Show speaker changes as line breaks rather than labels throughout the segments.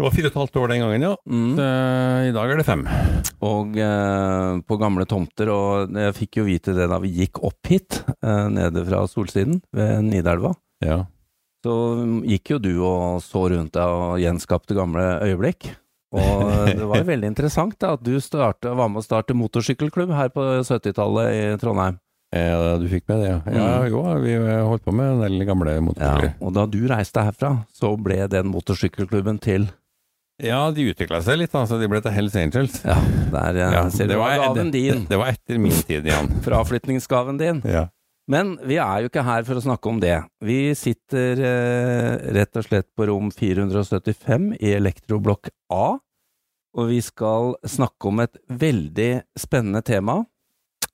Det var fire og et halvt år den gangen, ja.
Mm.
Eh, I dag er det fem.
og eh, på gamle tomter, og jeg fikk jo vite det da vi gikk opp hit, eh, nede fra Solsiden ved Nidelva.
Ja.
Så gikk jo du og så rundt deg og gjenskapte gamle øyeblikk. Og det var jo veldig interessant da, at du starte, var med å starte motorsykkelklubb her på 70-tallet i Trondheim.
Eh, du fikk med det, ja. ja
Mm.
jo, vi holdt på med en del gamle motorsykler.
Og da du reiste herfra, så ble den motorsykkelklubben til
Ja. de utvikla seg litt, altså. De ble til Hells Angels.
Ja, der eh,
Ja,
ser du var gaven
det,
din.
det var etter min tid, Jan.
Fraflytningsgaven din.
Ja.
Men vi er jo ikke her for å snakke om det. Vi sitter eh, rett og slett på rom 475 i elektroblokk A, og vi skal snakke om et veldig spennende tema.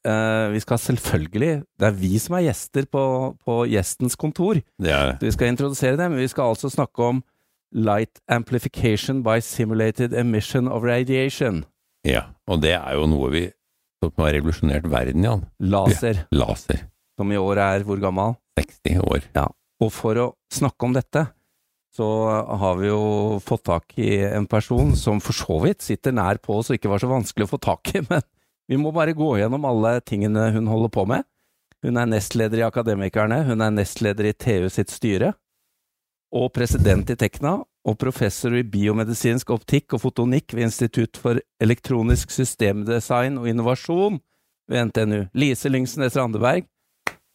Eh, vi skal selvfølgelig Det er vi som er gjester på, på gjestens kontor.
Det er det.
Vi skal introdusere dem. men Vi skal altså snakke om Light amplification by simulated emission of radiation.
Ja. Og det er jo noe vi som har revolusjonert verden, Jan.
Laser,
Laser.
som i år er hvor gammel?
60 år.
Og for å snakke om dette, så har vi jo fått tak i en person som for så vidt sitter nær på oss og ikke var så vanskelig å få tak i, men vi må bare gå gjennom alle tingene hun holder på med. Hun er nestleder i Akademikerne, hun er nestleder i TU sitt styre, og president i Tekna, og professor i biomedisinsk optikk og fotonikk ved Institutt for elektronisk systemdesign og innovasjon ved NTNU. Lise Lyngsnes Randeberg,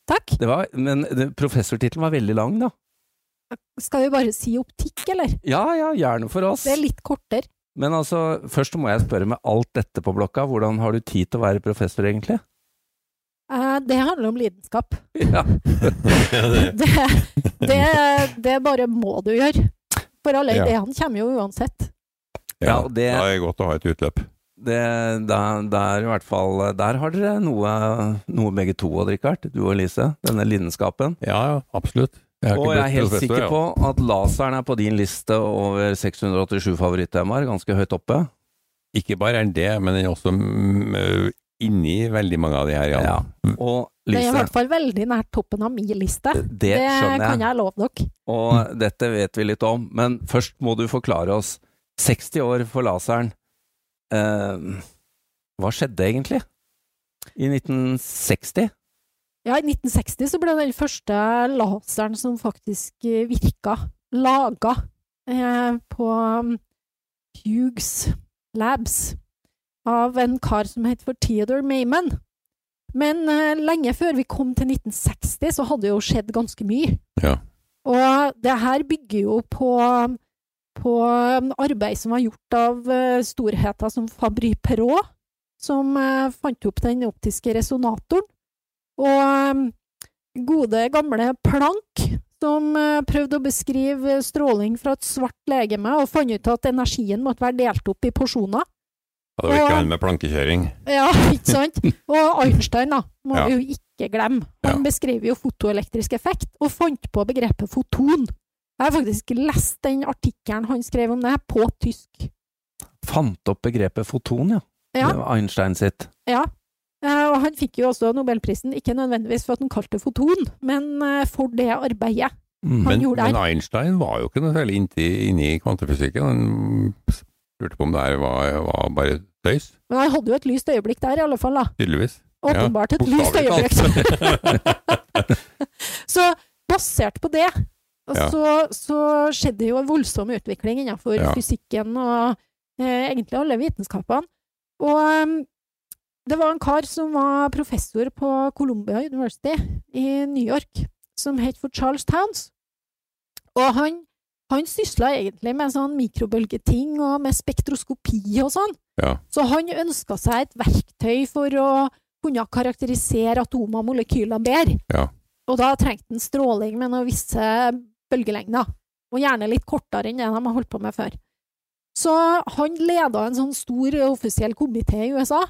Takk.
det var, men det- professortittelen var veldig lang, da.
Skal vi bare si optikk, eller?
Ja, ja, gjerne for oss.
Det er litt kortere.
Men altså, først må jeg spørre med alt dette på blokka, hvordan har du tid til å være professor egentlig?
Eh, Det handler om lidenskap.
Ja,
Det, det, det bare må du gjøre. For alle
Ja.
ideene kommer jo uansett.
Ja, og det-
Da er det godt å ha et utløp.
det, der, der i hvert fall, der har dere noe, noe begge to, Odd Rikard, du og Elise, denne lidenskapen.
Ja, ja, absolutt. Jeg har ikke
Og jeg er
blitt
helt
professor,
sikker
ja.
på at laseren er på din liste over 687 favorittemaer, ganske høyt oppe.
Ikke bare er den det, men den er også mm, ø, inni veldig mange av de her, Jan.
Og
Det er i
Lise,
hvert fall veldig nært toppen av min liste.
det,
Det
skjønner jeg.
kan jeg love dere.
Og dette vet vi litt om, men først må du forklare oss. 60 år for laseren. Eh, hva skjedde egentlig? I 1960?
Ja, i 1960 så ble den første laseren som faktisk eh, virka, laga eh, på um, Hughes Labs av en kar som het for Theodore Mayman. Men eh, lenge før vi kom til 1960, så hadde det jo skjedd ganske mye.
Ja.
Og det her bygger jo på, på um, arbeid som var gjort av eh, storheter som Fabry Perot, som eh, fant opp den optiske resonatoren. Og um, gode, gamle Planck, som uh, prøvde å beskrive stråling fra et svart legeme, og fant ut at energien måtte være delt opp i porsjoner.
Ja, det var ikke
Ja.
han med plankekjøring.
Ja, ikke sant? Og Einstein, da, må
Ja.
vi jo ikke glemme. Han
Ja.
beskriver jo fotoelektrisk effekt, og fant på begrepet foton. Jeg har faktisk lest den artikkelen han skrev om det, på tysk.
Fant opp begrepet foton, ja.
Ja.
Det var Einstein sitt.
Eh, Og han fikk jo også Nobelprisen, ikke nødvendigvis for at han kalte det foton, men eh, for det arbeidet.
Mm.
Han
Men,
gjorde det.
men Einstein var jo ikke noe særlig innti, inni kvantefysikken. Han s- lurte på om det her var, var bare tøys,
Men han hadde jo et lyst øyeblikk der, i alle fall, da.
tydeligvis.
Åpenbart et lyst
bokstavelig
øyeblikk. så basert på det,
Ja.
så, så skjedde jo en voldsom utvikling innenfor
Ja.
fysikken og eh, egentlig alle vitenskapene. Og em, det var en kar som var professor på Columbia University i New York, som het for Charles Towns. Og han, han sysla egentlig med sånn mikrobølgeting og med spektroskopi og sånn.
Ja.
Så han ønska seg et verktøy for å kunne karakterisere atomer og molekyler bedre.
Ja.
Og da trengte han stråling med noen visse bølgelengder, og gjerne litt kortere enn det de har holdt på med før. Så han leda en sånn stor offisiell komité i USA,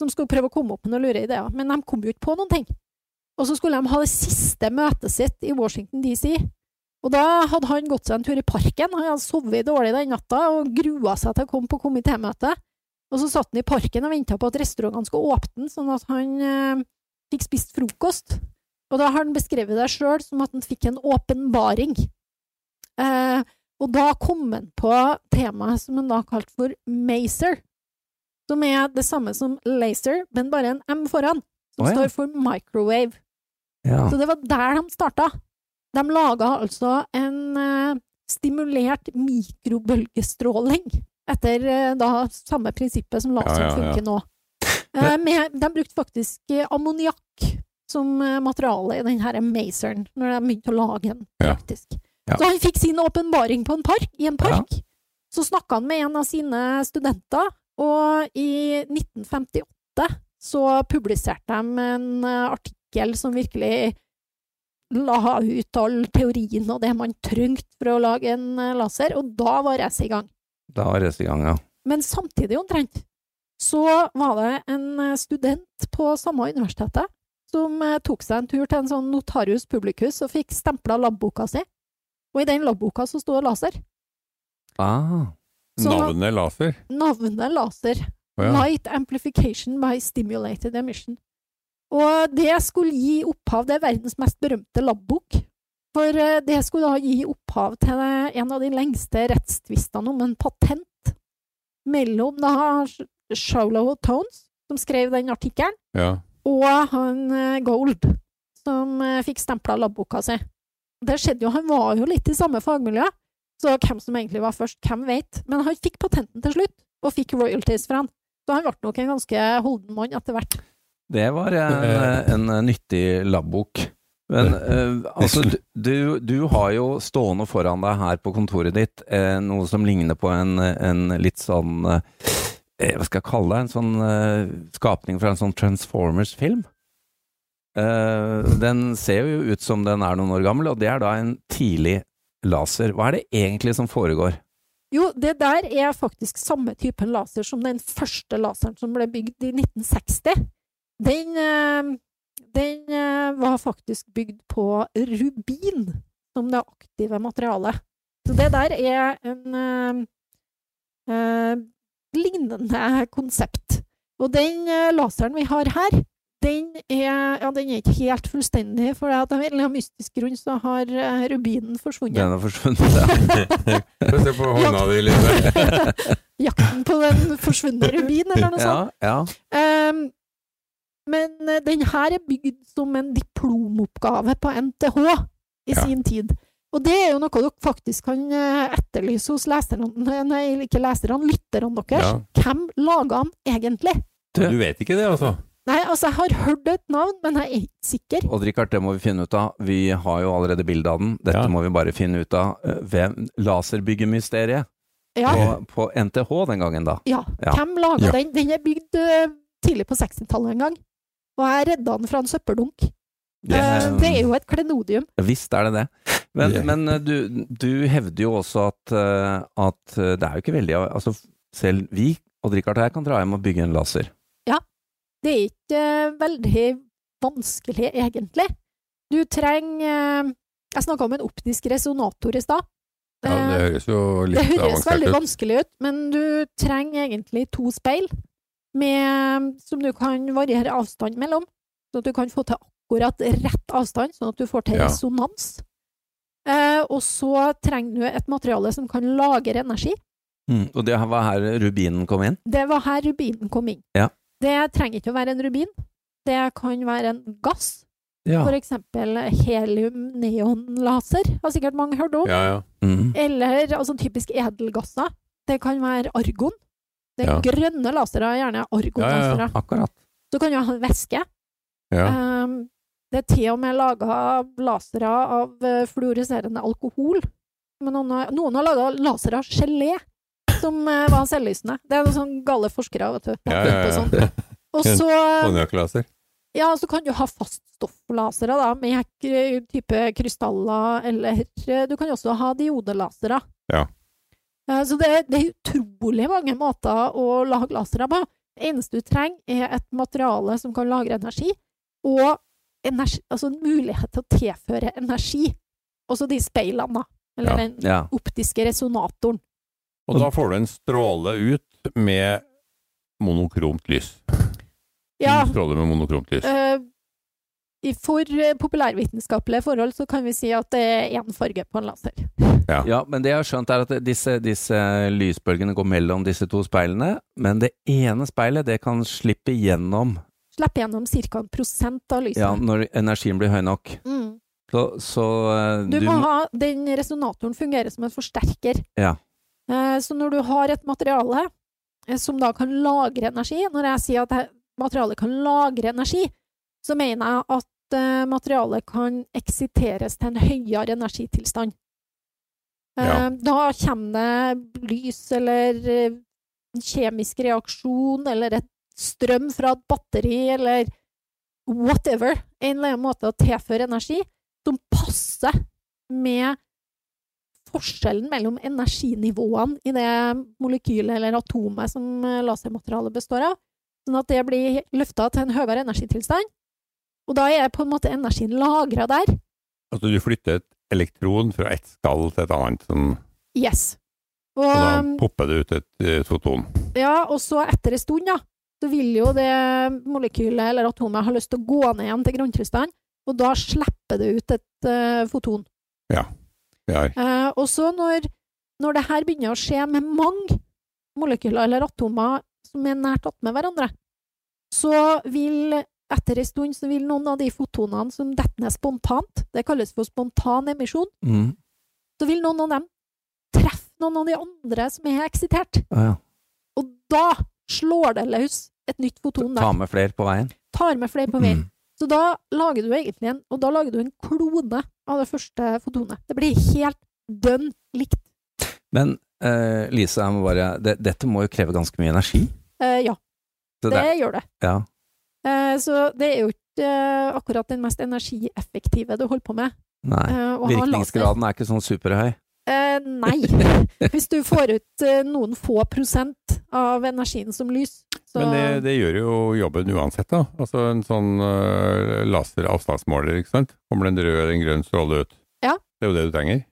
som skulle prøve å komme opp med noen lure ideer, men de kom jo ikke på noen ting. Og så skulle de ha det siste møtet sitt i Washington DC. Og da hadde han gått seg en tur i parken. Han hadde sovet dårlig den natta og grua seg til å komme på komitémøte. Og så satt han i parken og venta på at restaurantene skulle åpne, sånn at han eh, fikk spist frokost. Og da har han beskrevet det sjøl som at han fikk en åpenbaring. Eh, og da kom han på temaet som han da kalte for Mazer, som er det samme som Laser, men bare en M foran, som
Å ja.
står for microwave.
Ja.
Så det var der de starta. De laga altså en eh, stimulert mikrobølgestråling, etter eh, da samme prinsippet som laser
Ja, ja, ja.
funker nå. Eh, med, de brukte faktisk eh, ammoniakk som eh, materiale i den her Mazeren, når de begynte å lage den,
Ja.
faktisk.
Ja.
Så han fikk sin åpenbaring på en park, i en park. Så snakka han med en av sine studenter, og i 1958 så publiserte de en eh, artikkel som virkelig la ut all teorien og det man trengte for å lage en eh, laser, og da var racet i gang.
Da var resten i gang, ja.
Men samtidig omtrent så var det en eh, student på samme universitetet som eh, tok seg en tur til en sånn notarius publicus og fikk stempla labboka si. Og i den labboka så sto det laser.
Ah.
Så-
Navnet laser?
Navnet laser.
Å ja.
Light amplification by stimulated emission. Og det skulle gi opphav Det er verdens mest berømte labbok. For eh, det skulle da gi opphav til eh, en av de lengste rettstvistene om en patent mellom da Shaulow og Tones, som skrev den artikkelen,
ja.
og han eh, Gold, som eh, fikk stempla labboka si. Det skjedde jo, han var jo litt i samme fagmiljø, så hvem som egentlig var først, hvem vet. Men han fikk patenten til slutt, og fikk royalties fra han. Så han ble nok en ganske holden mann etter hvert.
Det var en, en nyttig labbok. Men eh, altså, du, du har jo stående foran deg her på kontoret ditt eh, noe som ligner på en, en litt sånn eh, eh, Hva skal jeg kalle det? En sånn eh, skapning fra en sånn Transformers-film. Eh, den ser jo ut som den er noen år gammel, og det er da en tidlig laser. Hva er det egentlig som foregår?
Jo, det der er faktisk samme typen laser som den første laseren som ble bygd i 1960. Den, eh, den eh, var faktisk bygd på rubin som det aktive materialet. Så det der er en eh, eh, lignende konsept. Og den eh, laseren vi har her, den er, ja, den er ikke helt fullstendig, for at av en eller annen mystisk grunn så har eh, rubinen forsvunnet.
Den er forsvunnet, ja.
Få se på hånda di, Line.
Jakten på den forsvunne rubin, eller noe
ja,
sånt.
ja.
Ehm, men eh, den her er bygd som en diplomoppgave på NTH i
Ja.
sin tid. Og det er jo noe dere faktisk kan eh, etterlyse hos leserne, eh, nei, ikke leserne, lytterne deres.
Ja.
Hvem laga den egentlig?
Du vet ikke det, altså?
Nei, altså, jeg har hørt et navn, men jeg er ikke sikker.
Odd Rikard, det må vi finne ut av. Vi har jo allerede bilde av den. Dette
Ja.
må vi bare finne ut av. Eh, Hvem Laserbyggemysteriet
Ja,
på, på NTH den gangen, da.
ja.
Ja.
Hvem laga
Ja.
den? Den er bygd eh, tidlig på 60-tallet en gang. Og jeg redda den fra en søppeldunk. Eh, det er jo et klenodium.
Eh, Visst er det det. Men,
Ja.
men eh, du, du hevder jo også at, eh, at eh, det er jo ikke veldig Altså, selv vi, Odd Rikard og jeg, kan dra hjem og bygge en laser.
Det er ikke eh, veldig vanskelig, egentlig. Du trenger eh, Jeg snakka om en optisk resonator i stad.
Ja, det
Eh,
høres jo
det
litt
høres veldig
avansert ut.
vanskelig ut, men du trenger egentlig to speil med, som du kan variere avstand mellom, så at du kan få til akkurat rett avstand, sånn at du får til
Ja.
resonans. Eh, og så trenger du et materiale som kan lagre energi.
Og det var her rubinen kom inn.
Det var her rubinen kom inn.
Ja.
Det trenger ikke å være en rubin. Det kan være en gass.
Ja.
For eksempel helium-neonlaser har sikkert mange hørt om.
Ja, ja.
Mm.
Eller altså, typisk edelgasser. Det kan være argon. Det er
Ja.
grønne lasere, gjerne argonlasere.
Akkurat.
Så kan du ha en væske.
ja.
Ehm, det er til og med laga lasere av eh, fluoreserende alkohol. Men noen har, noen har laga lasere av gelé, som eh, var selvlysende. Det er noen sånne gale forskere, vet du.
Ja, ja, ja.
Sånn. Og så
Konjakklaser.
Ja, så kan du ha faststofflasere da, med k- type krystaller, eller eh, du kan jo også ha diodelasere.
Ja.
Eh, Så det, det er utrolig mange måter å lage lasere på. Det eneste du trenger, er et materiale som kan lagre energi, og energi, altså en mulighet til å tilføre energi. Også de speilene, da. Eller
Ja.
den
Ja.
optiske resonatoren.
Og da får du en stråle ut med monokromt lys.
Ja,
En stråle med monokromt lys.
eh, i for eh, populærvitenskapelige forhold så kan vi si at det er én farge på en laser.
Ja, men det jeg har skjønt er at disse, disse lysbølgene går mellom disse to speilene, men det ene speilet det kan slippe gjennom
Slipper gjennom ca. en prosent av lyset.
ja, når energien blir høy nok.
Mm.
Så, så eh,
Du må ha, den resonatoren fungerer som en forsterker.
Ja.
Eh, Så når du har et materiale eh, som da kan lagre energi Når jeg sier at he- materialet kan lagre energi, så mener jeg at eh, materialet kan eksiteres til en høyere energitilstand. Eh,
Ja.
Da kommer det lys eller eh, en kjemisk reaksjon eller et strøm fra et batteri eller whatever, en eller annen måte å tilføre energi som passer med forskjellen mellom energinivåene i det molekylet eller atomet som eh, lasermaterialet består av, sånn at det blir løfta til en høyere energitilstand. Og da er på en måte energien lagra der.
Altså du flytter et elektron fra ett skall til et annet, sånn,
Yes. Og,
og da
um,
popper det ut et, eh, foton.
ja, og så etter en stund, da, så vil jo det molekylet eller atomet ha lyst til å gå ned igjen til grunntilstand, og da slipper det ut et eh, foton.
Ja,
Eh, og så når, når det her begynner å skje med mange molekyler eller atomer som er nært attmed hverandre, så vil etter en stund så vil noen av de fotonene som detter ned spontant, det kalles for spontan emisjon,
Mm.
så vil noen av dem treffe noen av de andre som er eksitert.
Å ja.
Og da slår det løs et nytt foton
Ta
der.
med flere på veien.
Tar med flere på vei.
Mm.
Så da lager du egentlig en, og da lager du en klone av det første fotonet. Det blir helt dønn likt.
Men eh, Lise, jeg må bare det, Dette må jo kreve ganske mye energi?
Eh, ja.
Så
det,
det,
gjør det.
ja.
Eh, Så det er jo ikke eh, akkurat den mest energieffektive du holder på med.
Nei.
eh, å ha laser.
Virkningsgraden er ikke sånn superhøy.
Eh, Nei. Hvis du får ut eh, noen få prosent av energien som lys, så
Men det, det gjør jo jobben uansett, da. Altså en sånn uh, laseravstandsmåler, ikke sant. Kommer det en rød eller en grønn stråle ut.
Ja.
Det er jo det du trenger.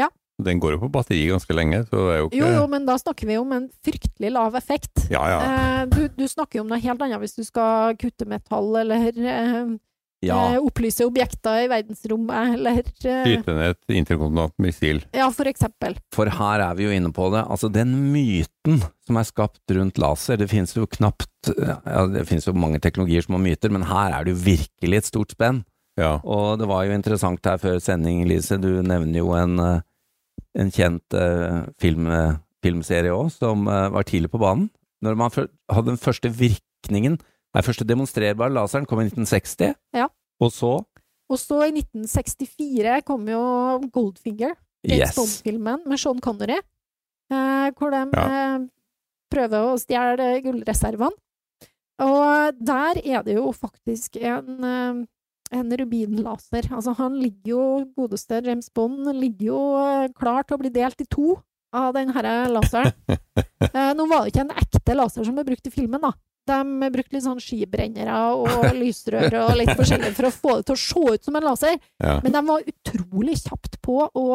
Ja.
Den går jo på batteri ganske lenge, så det er jo ikke
Jo, jo, men da snakker vi om en fryktelig lav effekt.
Ja, ja.
Eh, Du, du snakker jo om noe helt annet hvis du skal kutte metall, eller eh,
Ja.
eh, opplyse objekter i verdensrommet, eller eh,
Skyte ned et interkontinent missil.
Ja, for eksempel.
For her er vi jo inne på det. Altså, den myten som er skapt rundt laser, det finnes jo knapt ja, Det finnes jo mange teknologier som har myter, men her er det jo virkelig et stort spenn.
Ja.
Og det var jo interessant her før sending, Lise, du nevner jo en, eh, en kjent eh, film, eh, filmserie òg, som eh, var tidlig på banen. Når man fø- hadde den første virkningen Nei, første demonstrerbare laseren kom i 1960.
Ja.
Og så
Og så i 1964 kom jo Goldfinger. James
Yes!
Bond-filmen med Sean Connery, eh, hvor de
Ja.
eh, prøver å stjele gullreservene. Og der er det jo faktisk en, eh, en rubinlaser. Altså, han ligger jo, godeste James Bond, ligger jo eh, klar til å bli delt i to av den her laseren. eh, nå var det ikke en ekte laser som ble brukt i filmen, da. De brukte litt sånn skibrennere og lysrør og litt forskjellig for å få det til å se ut som en laser.
Ja.
Men de var utrolig kjapt på å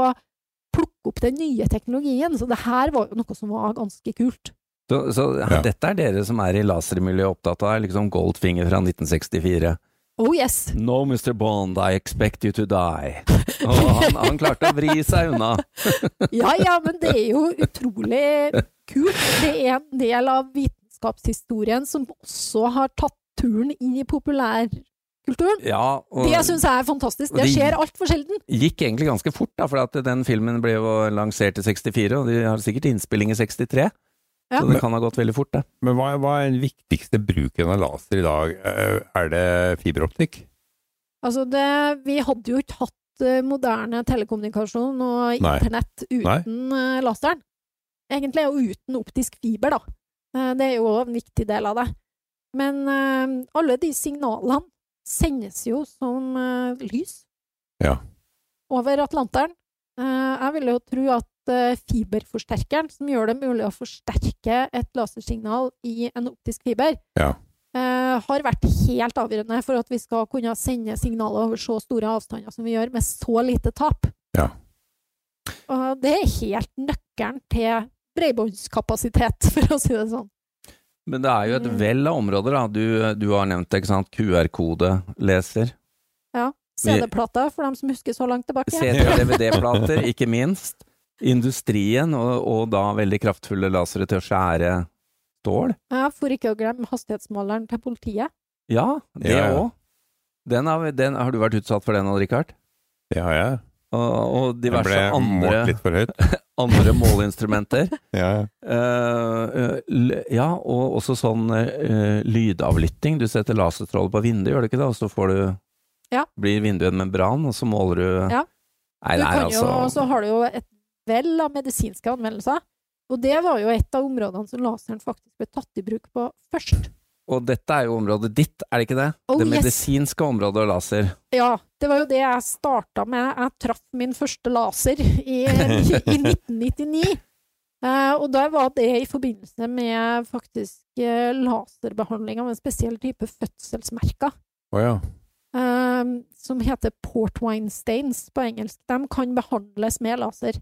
plukke opp den nye teknologien, så det her var jo noe som var ganske kult.
Så, så
Ja.
dette er dere som er i lasermiljøet opptatt av, liksom Goldfinger fra 1964.
Oh yes!
No, Mr. Bond, I expect you to die. Og han, han klarte å vri seg unna.
Ja ja, men det er jo utrolig kult. Det er en del av vitenskapshistorien som også har tatt turen inn i populærkulturen.
Ja, og
Det syns jeg er fantastisk. Det skjer altfor sjelden.
gikk egentlig ganske fort, da, for at den filmen ble jo lansert i 64, og de har sikkert innspilling i 63.
Ja.
Så det kan ha gått veldig fort, det.
Men hva, hva er den viktigste bruken av laser i dag? Eh, Er det fiberoptikk?
Altså, det, vi hadde jo ikke hatt eh, moderne telekommunikasjon og
Nei.
internett uten eh, laseren. Egentlig og uten optisk fiber, da. Eh, Det er jo også en viktig del av det. Men eh, alle de signalene sendes jo som eh, lys
Ja.
over Atlanteren. Eh, Jeg vil jo tro at eh, fiberforsterkeren, som gjør det mulig å forsterke et lasersignal i en optisk fiber,
Ja.
eh, eh, har vært helt avgjørende for at vi skal kunne sende signaler over så store avstander som vi gjør, med så lite tap.
Ja.
Og det er helt nøkkelen til bredbåndskapasitet, for å si det sånn.
Men det er jo et
Mm.
vell av områder, da. Du, du har nevnt det, ikke sant. QR-kodeleser.
CD-plater, for dem som husker så langt tilbake.
CD-DVD-plater, ikke minst. Industrien, og, og da veldig kraftfulle lasere til å skjære stål.
Ja, for ikke å glemme hastighetsmåleren til politiet.
Ja, det
Ja, ja.
òg. Den har, vi- den, har du vært utsatt for den, Odd-Rikard?
Det har jeg.
Og, og
Den
diverse
ble målt
andre,
litt for høyt.
andre måleinstrumenter.
Ja,
Eh, eh, l- ja, og også sånn eh, lydavlytting. Du setter laserstråle på vinduet, gjør du ikke det? Og så får du
Ja.
blir vinduet en membran, og så måler du
Ja.
Nei,
Du
det er
kan jo,
altså
og så har du jo et vell av medisinske anvendelser. Og det var jo et av områdene som laseren faktisk ble tatt i bruk på først.
Og dette er jo området ditt, er det ikke det?
Oh,
det
yes.
medisinske området og laser.
Ja, det var jo det jeg starta med. Jeg traff min første laser i, i 1999. Eh, og da var det i forbindelse med faktisk eh, laserbehandling av en spesiell type fødselsmerker.
Å ja.
eh, som heter port wine stains på engelsk. De kan behandles med laser.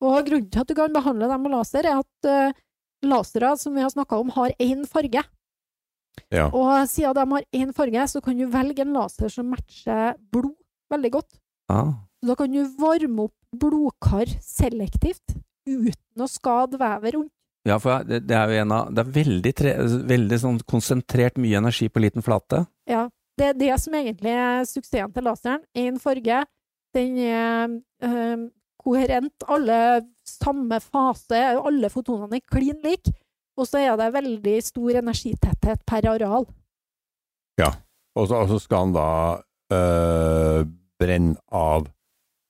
Og grunnen til at du kan behandle dem med laser, er at eh, lasere som vi har snakka om, har én farge.
Ja.
Og siden de har én farge, så kan du velge en laser som matcher blod veldig godt.
Ja.
Så da kan du varme opp blodkar selektivt uten å skade vevet rundt.
Ja, for det det er jo en av Det er veldig, tre, veldig sånn konsentrert mye energi på liten flate.
Ja, det er det som egentlig er suksessen til laseren. Én farge. Den er øhm, koherent. Alle samme fase. Alle fotonene er klin like. Og så er det veldig stor energitetthet per areal.
Og så og så skal han da øh, brenne av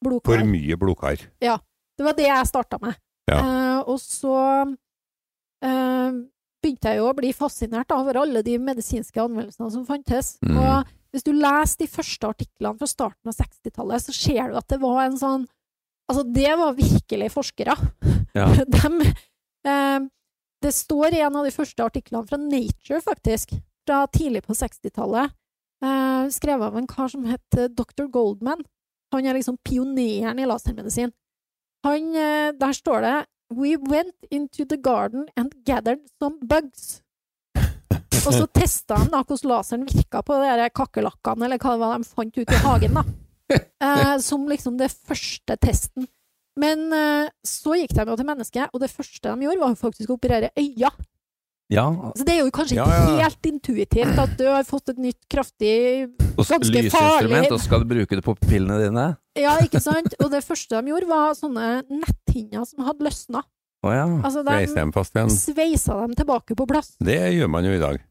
for
Blodkar.
mye blodkar.
Det var det jeg starta med.
Ja.
Eh, og så eh, begynte jeg jo å bli fascinert over alle de medisinske anvendelsene som fantes.
Mm.
Og hvis du leser de første artiklene fra starten av 60-tallet, så ser du at det var en sånn Altså, det var virkelig forskere.
Ja.
Dem, eh, det står i en av de første artiklene fra Nature, faktisk, fra tidlig på 60-tallet, eh, skrevet av en kar som het eh, Dr. Goldman. Han er liksom pioneren i lasermedisin. Han, eh, der står det We went into the garden and gathered some bugs. Og så testa han da hvordan laseren virka på de der kakerlakkene, eller hva det var de fant ute i hagen, da. Eh, som liksom det første testen. Men eh, så gikk de jo til mennesket, og det første de gjorde, var jo faktisk å operere øya.
Ja,
Så det er jo kanskje ikke
Ja, ja, ja.
helt intuitivt at du har fått et nytt kraftig
og s-
Ganske farlig.
lysinstrument, og så skal du bruke det på pupillene dine?
Ja, ikke sant? Og det første de gjorde, var sånne netthinner som hadde løsna.
Å ja.
Altså,
Reise
de
dem fast igjen.
sveisa dem tilbake på plass.
Det gjør man jo i dag.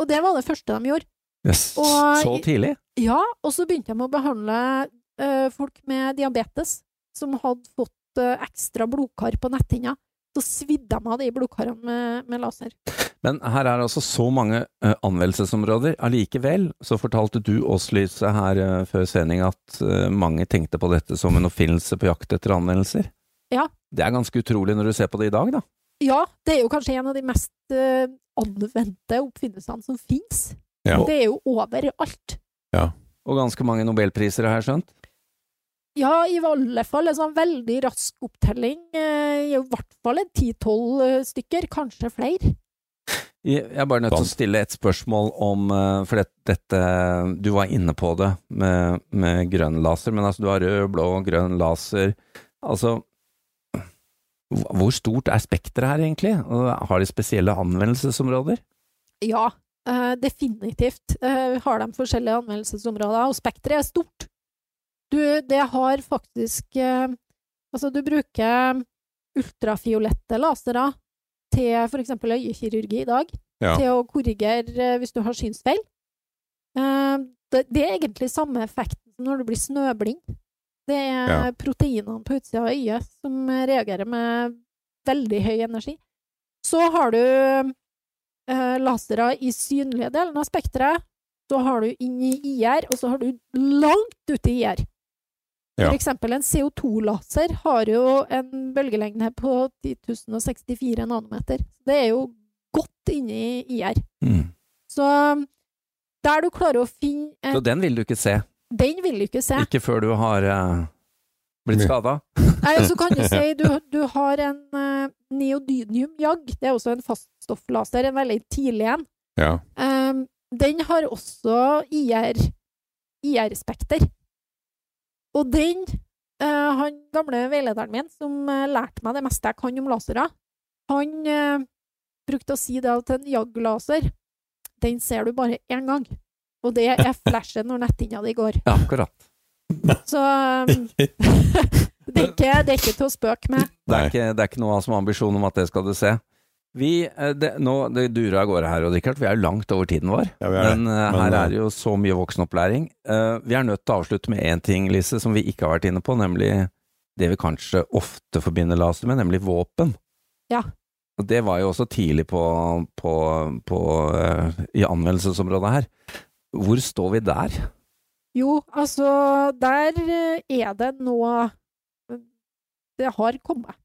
Og det var det første de gjorde.
Yes.
Og-
Så tidlig?
Ja, og så begynte de å behandle eh, folk med diabetes som hadde fått eh, ekstra blodkar på netthinna. Så svidde de av de blodkarene med, med laser.
Men her er altså så mange eh, anvendelsesområder. Allikevel så fortalte du oss, Lyse, her eh, før sending at eh, mange tenkte på dette som en oppfinnelse på jakt etter anvendelser.
Ja.
Det er ganske utrolig når du ser på det i dag, da.
Ja, det er jo kanskje en av de mest eh, anvendte oppfinnelsene som fins.
Ja.
Det er jo overalt.
Og ganske mange nobelpriser, har jeg skjønt.
Ja, i alle fall en sånn veldig rask opptelling. eh, I hvert fall en ti-tolv stykker, kanskje flere.
Jeg jeg er bare nødt til å
Sant.
stille et spørsmål om eh, For det, dette Du var inne på det med, med grønn laser, men altså du har rød, blå, grønn laser. Altså hv- Hvor stort er spekteret her, egentlig? Og Har de spesielle anvendelsesområder?
Ja, eh, definitivt eh, har de forskjellige anvendelsesområder, og spekteret er stort. Du, det har faktisk eh, Altså, du bruker ultrafiolette lasere til for eksempel øyekirurgi i dag,
Ja.
til å korrigere eh, hvis du har synsfeil. Eh, det, det er egentlig samme effekten som når du blir snøblind. Det er
Ja.
proteinene på utsida av øyet som eh, reagerer med veldig høy energi. Så har du eh, lasere i synlige delen av spekteret. Så har du inn i IR, og så har du langt ute i IR.
Ja.
For eksempel en CO2-laser har jo en bølgelengde på
Mm.
10.064 nanometer. Det er jo godt inne i IR. Så um, der du klarer å finne eh,
Så den vil du ikke se.
Den vil du ikke se.
Ikke før du har eh, blitt skada.
Nei, så kan du si du, du har en eh, neodynium jag. Det er også en faststofflaser, en veldig tidlig en.
Ja.
Ehm, den har også IR, IR-spekter. Og den, eh, han gamle veilederen min, som eh, lærte meg det meste jeg kan om lasere, han eh, brukte å si det at en jag-laser, den ser du bare én gang. Og det er flashet når netthinna di går.
Ja, akkurat.
Så ehm, det, er ikke, det er ikke til å spøke med.
Det
Nei.
er, ikke, det er ikke noe som har ambisjon om at det skal du se. Vi, eh, det, nå, det durer av gårde her, og Richard, vi er jo langt over tiden vår.
Ja, vi er det.
Men, eh,
Men,
her
eh,
er det jo så mye voksenopplæring. Eh, vi er nødt til å avslutte med én ting, Lise, som vi ikke har vært inne på, nemlig det vi kanskje ofte forbinder laser med, nemlig våpen.
Ja.
Og det var jo også tidlig på, på, på, eh, i anvendelsesområdet her. Hvor står vi der?
Jo, altså, der eh, er det noe eh, Det har kommet.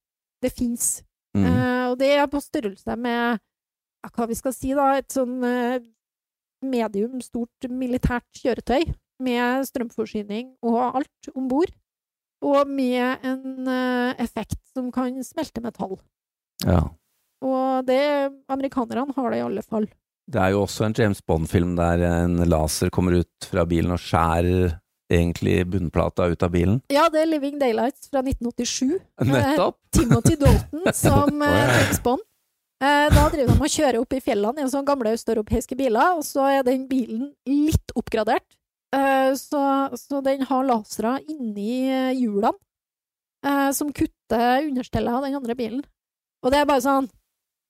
Det fins.
Mm.
Eh, og det er på størrelse med ja, hva vi skal si, da, et sånn eh, medium stort militært kjøretøy med strømforsyning og alt om bord. Og med en eh, effekt som kan smelte metall.
Ja.
Og det Amerikanerne har det i alle fall.
Det er jo også en James Bond-film der en laser kommer ut fra bilen og skjærer egentlig bunnplata ut av bilen.
Ja, det er Living Daylights fra 1987.
Nettopp!
Timothy Dalton som eh,
Å, ja.
James Bond. Eh, da driver de og kjører opp i fjellene i en sånn gamle østeuropeiske biler, og så er den bilen litt oppgradert. Eh, så, så den har lasere inni eh, hjulene eh, som kutter understellet av den andre bilen. Og det er bare sånn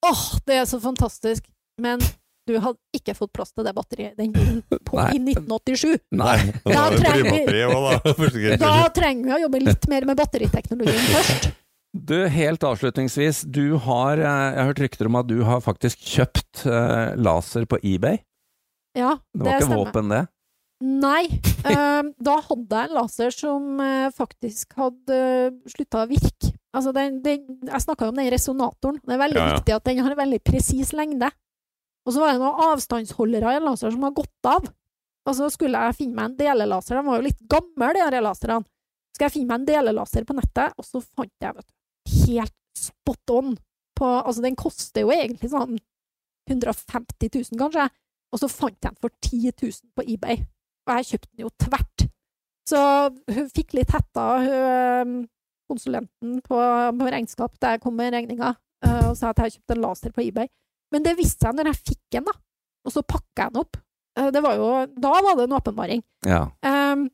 Åh, det er så fantastisk! Men du hadde ikke fått plass til det batteriet i den bilen på, i 1987.
Nei.
Da
Da
var det
trenger-
blybatteriet også, da. for sikkerhets
Da
skyld.
trenger vi å jobbe litt mer med batteriteknologien først.
Du, helt avslutningsvis, du har eh, Jeg har hørt rykter om at du har faktisk kjøpt eh, laser på eBay.
Ja,
Det
det
var ikke
stemmer.
våpen, det?
Nei. ehm, da hadde jeg en laser som eh, faktisk hadde uh, slutta å virke. Altså den, den, jeg snakka jo om den resonatoren. Det er veldig
Ja, ja.
viktig at den har en veldig presis lengde. Og så var det noen avstandsholdere i en laser som har gått av. Og så skulle jeg finne meg en delelaser. De var jo litt gamle, de her laserne. Skal jeg finne meg en delelaser på nettet? Og så fant jeg, vet du, helt spot on på Altså, den koster jo egentlig sånn 150 000, kanskje. Og så fant jeg den for 10 000 på eBay. Og jeg kjøpte den jo tvert. Så hun fikk litt hetta, hun eh, konsulenten på, på regnskap, der jeg kom med regninga, eh, og sa at jeg hadde kjøpt en laser på eBay. Men det viste seg når jeg fikk den, da. Og så pakka jeg den opp. Eh, Det var jo, da var det en åpenbaring.
Ja.
Ehm,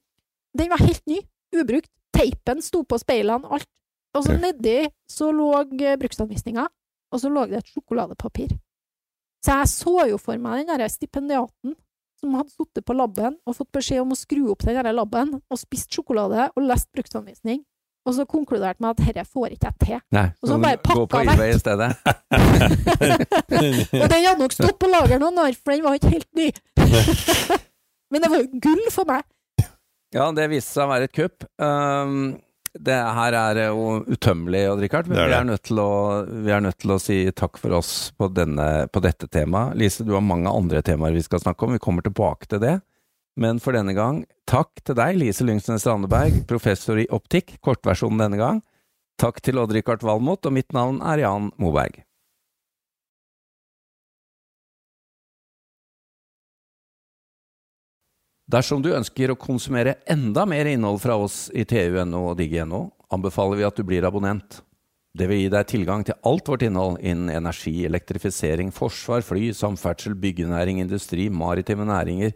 den var helt ny, ubrukt. Teipen sto på speilene, alt. Og så
Ja.
nedi så lå eh, bruksanvisninga, og så lå det et sjokoladepapir. Så jeg så jo for meg den derre stipendiaten som hadde sittet på labben og fått beskjed om å skru opp den derre labben, og spist sjokolade og lest bruksanvisning, og så konkluderte med at herre får ikke jeg til.
Nei.
Og så bare
Gå på
pakka
eBay
vekk.
i stedet.
Og den hadde nok stått på lager noen år, for den var ikke helt ny. Men det var jo gull for meg.
Ja, det viste seg å være et kupp. Ehm, det her er eh, jo utømmelig, Odd Rikard. men
Det er
Vi,
det.
er nødt til å- vi er nødt til å si takk for oss på, denne, på dette temaet. Lise, du har mange andre temaer vi skal snakke om. Vi kommer tilbake til det. Men for denne gang, takk til deg, Lise Lyngsnes Randeberg, professor i optikk, kortversjonen denne gang. Takk til Odd-Rikard Valmot, og mitt navn er Jan Moberg. Dersom du ønsker å konsumere enda mer innhold fra oss i tu.no og digg.no, anbefaler vi at du blir abonnent. Det vil gi deg tilgang til alt vårt innhold innen energi, elektrifisering, forsvar, fly, samferdsel, byggenæring, industri, maritime næringer,